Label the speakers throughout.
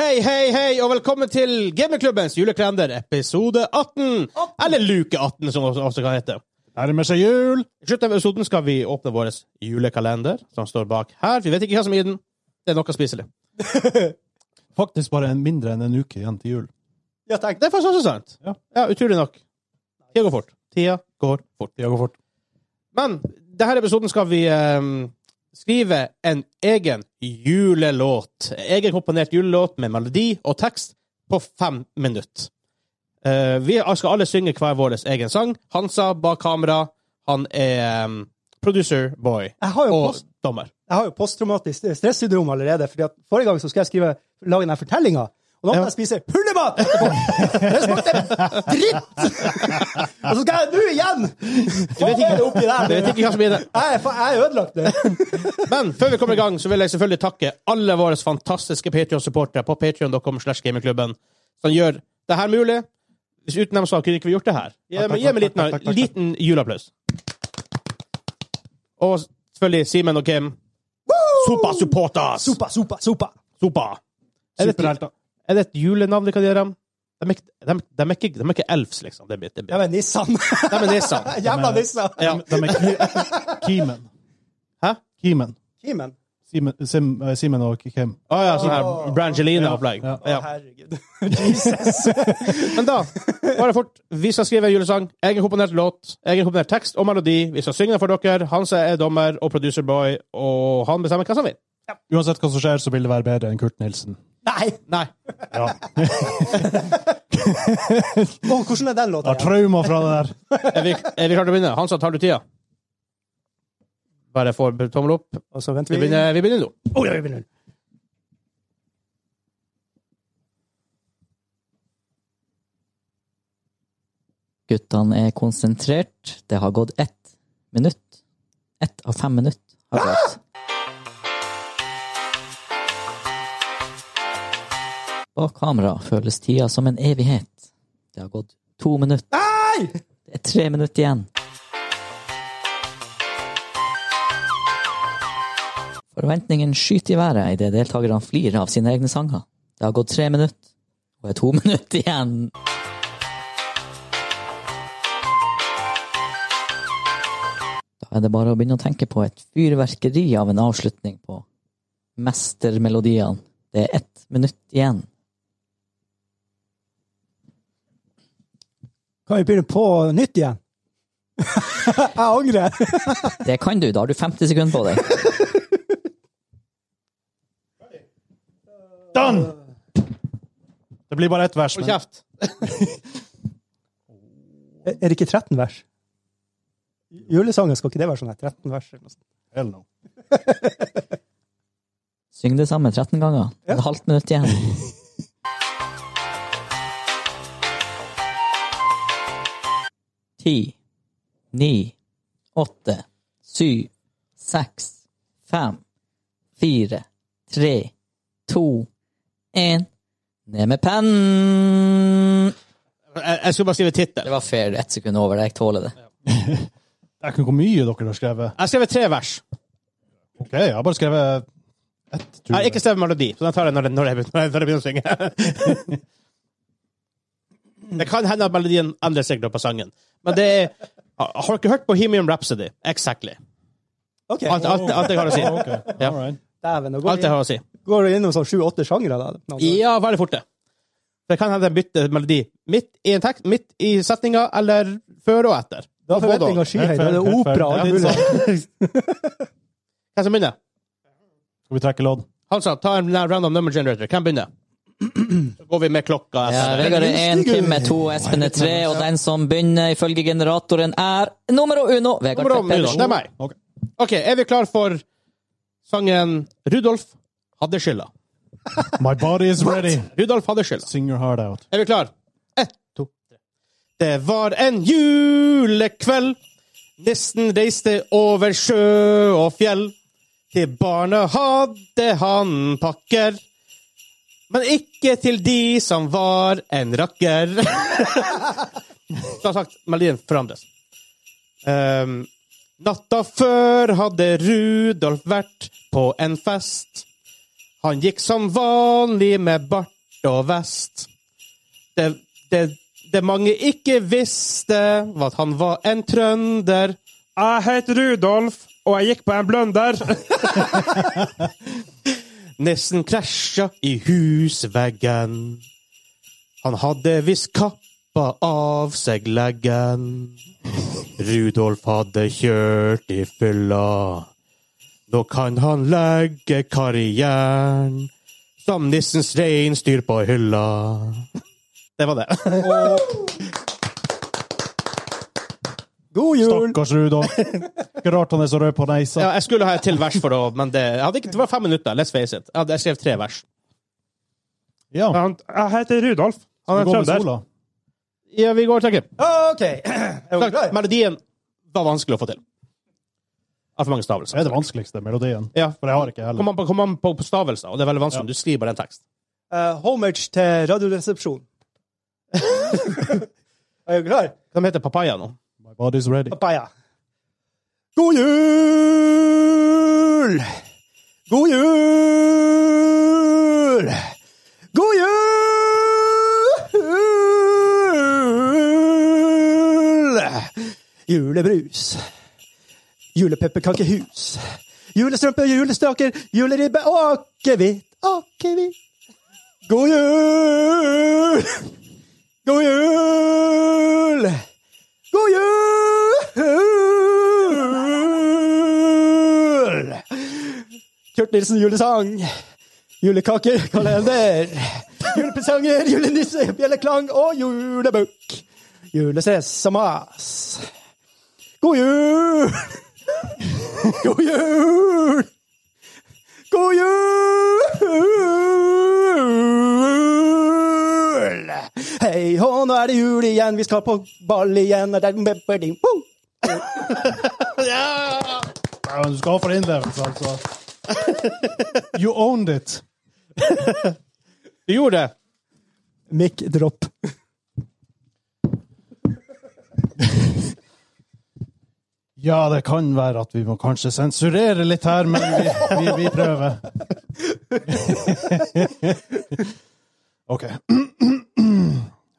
Speaker 1: Hei, hei, hei, og velkommen til Gamingklubbens julekalender, episode 18. Eller luke 18, som det også kan hete.
Speaker 2: Nærmer seg jul!
Speaker 1: I slutten av episoden skal vi åpne vår julekalender, som står bak her. Vi vet ikke hva som er i den. Det er noe spiselig.
Speaker 2: Faktisk bare en mindre enn en uke igjen til jul.
Speaker 1: Ja, tenk. Det er faktisk også sant.
Speaker 2: Ja.
Speaker 1: utrolig nok. Tida går fort. Tida går fort.
Speaker 2: Det går fort.
Speaker 1: Men denne episoden skal vi eh, skrive en egen julelåt. Egen komponert julelåt med melodi og tekst på fem minutter. Eh, vi skal alle synge hver vår egen sang. Hansa bak kamera. Han er um, producer boy
Speaker 3: Jeg har jo,
Speaker 1: og
Speaker 3: post,
Speaker 1: dommer.
Speaker 3: jeg har jo posttraumatisk stressyndrom allerede. fordi at Forrige gang så skulle jeg skrive, lage denne fortellinga. Og nå
Speaker 1: Ja.
Speaker 3: kan jeg spise hundemat! etterpå. Det smakte dritt! Og så skal jeg nå igjen! Hva
Speaker 1: vet ikke-
Speaker 3: er det oppi der?
Speaker 1: Jeg vet ikke hva som blir det.
Speaker 3: Jeg er fa- jeg er ødelagt nå.
Speaker 1: Men før vi kommer i gang, så vil jeg selvfølgelig takke alle våre fantastiske Patreon-supportere på patreon.com slash gamingklubben, som gjør det her mulig. Hvis uten dem så kunne ikke vi gjort det her. Gi meg- gi meg en liten, liten juleapplaus. Og selvfølgelig Simen og Kim. Sopa-supporters!
Speaker 3: Sopa, sopa, sopa.
Speaker 1: Sopa! Er det, et,
Speaker 2: Superhelter.
Speaker 1: er det et julenavn vi kan gi dem? De er, ikke, de, de, er ikke, de er ikke elfs, liksom. De, er- de,
Speaker 3: Ja,
Speaker 1: er-
Speaker 3: men Nissan.
Speaker 1: de er nissene.
Speaker 3: Jævla Nissan.
Speaker 1: Ja.
Speaker 2: De er Ki- Kimen.
Speaker 1: Hæ?
Speaker 2: Kimen.
Speaker 3: Kimen.
Speaker 2: Simen, Sim, eh, Simen og Kim.
Speaker 1: Å ja, sånn her Brangelina-opplegg.
Speaker 2: Ja.
Speaker 3: Å,
Speaker 1: Ja.
Speaker 3: herregud. Jesus.
Speaker 1: Men da, bare fort. Vi skal skrive en julesang. Egenkomponert låt, egenkomponert tekst og melodi. Vi skal synge den for dere. Hansa er dommer og producerboy, og han bestemmer hva som vil.
Speaker 2: Uansett hva som skjer, så vil det være bedre enn Kurt Nilsen.
Speaker 3: Nei!
Speaker 1: Nei.
Speaker 2: Ja.
Speaker 3: Å, hvordan er den låta?
Speaker 2: Har traumer fra det der.
Speaker 1: Er vi, er vi klare til å begynne? Hansa, tar du tida? Bare får tommel opp.
Speaker 3: Og så venter
Speaker 1: Vi
Speaker 3: vi.
Speaker 1: begynner, vi begynner nå.
Speaker 3: Å, ja, vi begynner.
Speaker 4: Guttene er konsentrert. Det har gått ett minutt. Ett av fem minutt har gått. Bak kamera føles tida som en evighet. Det har gått to minutt.
Speaker 3: Nei!
Speaker 4: Det er tre minutt igjen. Forventningen skyter i været idet deltakerne flirer av sine egne sanger. Det har gått tre minutt, og er to minutt igjen. Da er det bare å begynne å tenke på et fyrverkeri av en avslutning på mestermelodiene. Det er ett minutt igjen.
Speaker 3: Kan vi begynne på nytt igjen? Jeg angrer.
Speaker 4: Det kan du, da har du 50 sekunder på deg.
Speaker 2: Done! Det blir bare ett vers.
Speaker 1: Hold
Speaker 2: Men
Speaker 1: kjeft.
Speaker 3: Er er det ikke 13 vers? Julesangen skal ikke det være sånn her, 13 vers? eller noe sånt?
Speaker 2: Hell no.
Speaker 4: Syng det samme 13 ganger. Et halvt minutt igjen. Ti, ni, åtte, syv, seks, fem, fire, tre, to, én. Ned med pennen!
Speaker 1: Jeg, jeg skulle bare skrive
Speaker 4: Det
Speaker 1: tittel.
Speaker 4: var fair. Ett sekund over det. Jeg tåler det.
Speaker 2: Det er ikke hvor mye dere har skrevet.
Speaker 1: Jeg skrev tre vers.
Speaker 2: Ok, jeg har bare skrevet ett.
Speaker 1: Jeg
Speaker 2: Tror
Speaker 1: har ikke
Speaker 2: jeg.
Speaker 1: skrevet melodi, så den tar jeg når jeg, når jeg, begynner, når jeg begynner å synge. det kan hende at melodien endrer seg i løpet av sangen. Men det er Har dere hørt Bohemian Rhapsody? Exactly.
Speaker 3: Ok,
Speaker 1: Alt, alt, alt jeg har å si.
Speaker 2: Ok,
Speaker 1: Ja.
Speaker 2: all right.
Speaker 3: dæven, nå går
Speaker 1: Alt
Speaker 3: vi
Speaker 1: jeg har å si.
Speaker 3: går vi innom sånn sju-åtte sjangre. da. Nå-
Speaker 1: Ja, veldig fort det. Det kan hende jeg bytter melodi midt i en tekst, midt i setninga, eller før og etter.
Speaker 3: Da er
Speaker 1: Både og.
Speaker 3: forventninga skyhøy.
Speaker 2: Helt
Speaker 3: Da er det
Speaker 2: fair, helt
Speaker 3: opera.
Speaker 2: fair.
Speaker 3: alt
Speaker 2: Ja,
Speaker 3: mulig.
Speaker 1: Hvem som begynner?
Speaker 2: Skal vi trekke lodd?
Speaker 1: Hansa, ta en random number generator. Hvem begynner? Så går vi med klokka.
Speaker 4: Ja,
Speaker 1: etter det.
Speaker 4: Vegard er én, Kim er to, Espen er tre, og den som begynner ifølge generatoren, er numero uno. Vegard
Speaker 1: Nummer om,
Speaker 4: Tvedt Pedersen.
Speaker 1: Det er meg.
Speaker 2: Ok.
Speaker 1: OK, er vi klar for sangen 'Rudolf hadde skylda'?
Speaker 2: My body is ready.
Speaker 1: Rudolf hadde skylda.
Speaker 2: Sing your heart out.
Speaker 1: Er vi klar? Ett, to, tre. Det var en julekveld. Nissen reiste over sjø og fjell. Til barna hadde han pakker. Men ikke til de som var en rakker. Som sagt, melodien forandres. Ehm, natta før hadde Rudolf vært på en fest. Han gikk som vanlig med bart. og vest. Det, det, det mange ikke visste, var at han var en trønder. Jeg heter Rudolf, og jeg gikk på en blunder. Nissen krasja i husveggen. Han hadde visst kappa av seg leggen. Rudolf hadde kjørt i fylla. Nå kan han legge karrieren som nissens reinsdyr på hylla. Det var det.
Speaker 3: God jul!
Speaker 2: Stakkars Rudolf. Ikke rart han er så rød på neisa.
Speaker 1: Ja, jeg skulle ha et til vers for det òg, men det, jeg hadde ikke, det var fem minutter. Let's face it. Jeg, hadde, jeg skrev tre vers.
Speaker 2: Ja.
Speaker 1: Jeg heter Rudolf.
Speaker 2: Skal gå med sola.
Speaker 1: Ja, vi går og trekker.
Speaker 3: OK. Er du klar?
Speaker 1: Melodien var vanskelig å få til. Altfor mange stavelser.
Speaker 2: Det er det vanskeligste, melodien.
Speaker 1: Ja.
Speaker 2: For jeg har ikke heller.
Speaker 1: Kom an på, kom an på, på stavelser, og det er veldig vanskelig. Du skriver bare en tekst.
Speaker 3: Eh, homage til Radioresepsjonen. er du klar?
Speaker 1: De heter Papaya nå.
Speaker 2: My body's ready.
Speaker 3: Papaya. God jul! God jul! God jul! Julebrus. Julepepperkakehus. Julestrømper, julestaker, juleribbe og akevitt. Akevitt. God jul! God jul! God jul! Kurt Nilsen julesang. Julekaker, kalender. Julepresanger, julenisse, bjelleklang og julebukk. Julestress og mas. God jul! God jul! God jul! Hei hå, nå er det jul igjen, vi skal på ball igjen. og der- Boom!
Speaker 2: Ja, men du skal ha for innlevelse, altså. You owned it.
Speaker 1: Du gjorde det!
Speaker 3: Mic drop.
Speaker 2: Ja, det kan være at vi må kanskje sensurere litt her, men vi, vi, vi prøver. OK.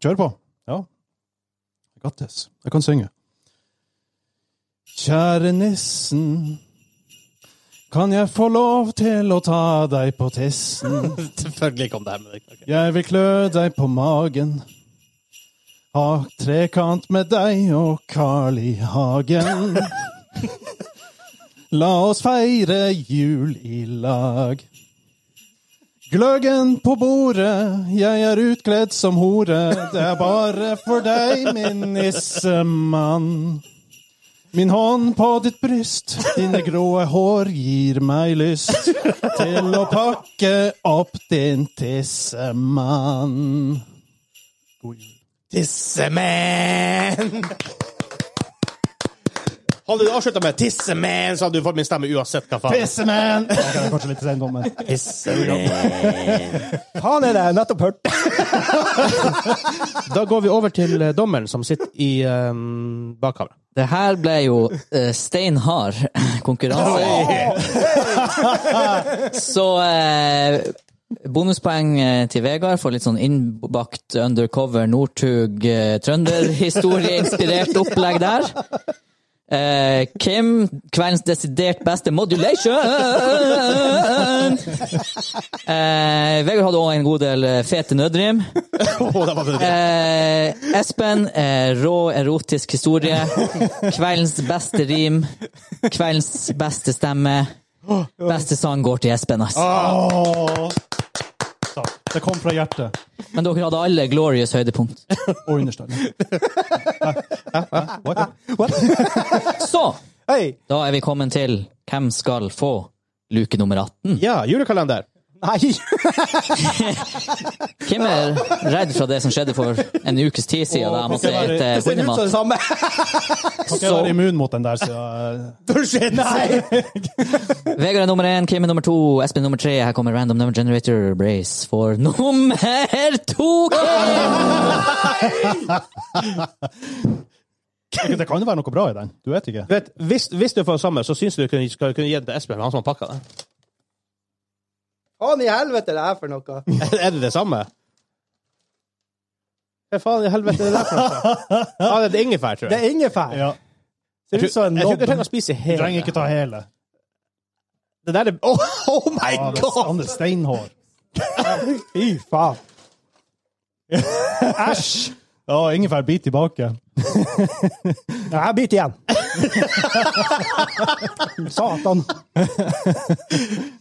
Speaker 2: Kjør på. Ja. I got this. Jeg kan synge. Kjære nissen, kan jeg få lov til å ta deg på tissen?
Speaker 1: Selvfølgelig kom det her med det. Ok.
Speaker 2: Jeg vil klø deg på magen. Ha trekant med deg og Carl i hagen. La oss feire jul i lag. Gløggen på bordet, jeg er utkledd som hore. Det er bare for deg, min nissemann. Min hånd på ditt bryst, dine gråe hår gir meg lyst til å pakke opp din tissemann. God jul.
Speaker 1: Tisseman! Hadde du avslutta med 'tisseman', så hadde du fått min stemme uansett hva faen.
Speaker 2: Tissemann! Ok, det er kanskje litt sen om meg.
Speaker 3: Faen er det jeg nettopp hørte?
Speaker 1: Da går vi over til eh, dommeren som sitter i um, bakkamera.
Speaker 4: Det her ble jo eh, steinhard konkurranse. Så eh, bonuspoeng eh, til Vegard for litt sånn innbakt undercover Northug eh, trønderhistorie-inspirert opplegg der. Eh, Kim, kveldens desidert beste modulation! Eh, Vegard hadde òg en god del eh, fete nødrim.
Speaker 1: Åh, det var det.
Speaker 4: Eh, Espen, eh, rå erotisk historie. Kveldens beste rim. Kveldens beste stemme. Beste sang går til Espen, altså.
Speaker 2: Åh. Takk. Det kom fra hjertet
Speaker 4: Men dere hadde alle glorious høydepunkt.
Speaker 2: og understanden. What?
Speaker 4: Så,
Speaker 3: Hei.
Speaker 4: da er vi kommet til Hvem skal få luke nummer 18?
Speaker 1: Ja, julekalender.
Speaker 3: Nei.
Speaker 4: Hvem er redd fra det som skjedde for en ukes tid siden, da jeg måtte
Speaker 2: Det
Speaker 4: spise
Speaker 3: Det ser ut som
Speaker 4: hundemat?
Speaker 3: det samme.
Speaker 2: Kan ikke være immun mot den der, så eh, jeg
Speaker 1: Bullshit! Nei!
Speaker 4: Vegard er nummer én, Kim er nummer to, Espen nummer tre. Her kommer Random Number Generator Brace for nummer to!
Speaker 2: Det kan jo være noe bra i den. Du vet ikke.
Speaker 1: Du vet, hvis, hvis du får det samme, så syns du du kunne, skal kunne gi den til Espen, men han som har pakka det.
Speaker 3: Faen i helvete, det er for noe.
Speaker 1: Er det det samme? Hva faen i helvete er det der for noe? Ja, det er ingefær, tror
Speaker 3: Det
Speaker 1: jeg.
Speaker 3: er ingefær.
Speaker 2: Ja.
Speaker 3: Ser ut som en
Speaker 1: Jeg tror ikke
Speaker 3: lobb.
Speaker 1: jeg trenger å spise
Speaker 2: Du
Speaker 1: hele.
Speaker 2: trenger ikke ta hele.
Speaker 1: Det der er Oh, oh my
Speaker 2: Ja, det er
Speaker 1: god!
Speaker 2: andre steinhår.
Speaker 3: Fy faen.
Speaker 2: Æsj! Ja, ingefær bit tilbake.
Speaker 3: Ja, jeg biter igjen. Satan.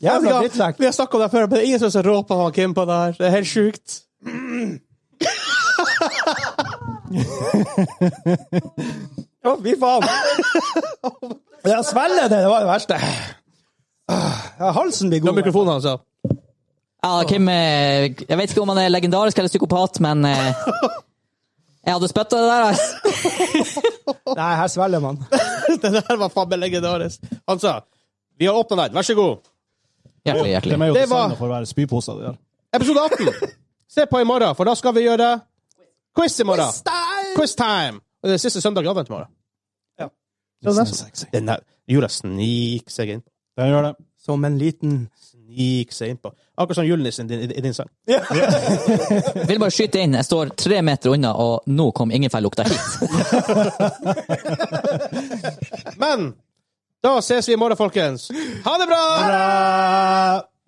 Speaker 3: Jævla drittsekk.
Speaker 1: Vi har snakka om det før, men det er ingen som er så rå på han Kim på det her. Det er helt sjukt.
Speaker 3: Å, fy faen. Jeg svelger det, det var det verste. Ja, halsen blir
Speaker 1: Det var
Speaker 3: god.
Speaker 1: mikrofonen hans, ja.
Speaker 4: Ja, Kim eh, Jeg vet ikke om han er legendarisk eller psykopat, men eh, Jeg hadde spytta det der, ass.
Speaker 3: Nei, her svelger man.
Speaker 1: Det der var faen meg legendarisk. Han sa Vi har åpna den, vær så god.
Speaker 4: Hjertelig,
Speaker 2: De
Speaker 4: hjertelig.
Speaker 2: er jo
Speaker 1: Det var-
Speaker 2: designet for å være spyposer. det der.
Speaker 1: Episode 18. Se på i morgen, for da skal vi gjøre quiz i morgen.
Speaker 3: Stein!
Speaker 1: Quiz time! Og det er siste søndag i advent i morgen.
Speaker 3: Det er nesten-
Speaker 2: Sexy.
Speaker 1: Den der jula sniker seg innpå.
Speaker 2: Den gjør det.
Speaker 3: Som en liten
Speaker 1: Sniker seg innpå. Akkurat som julenissen din, i, i din sang.
Speaker 4: Jeg vil bare skyte inn. Jeg står tre meter unna, og nå kom ingefærlukta hit.
Speaker 1: Men da ses vi i morgen, folkens. Ha det bra!
Speaker 2: Bra!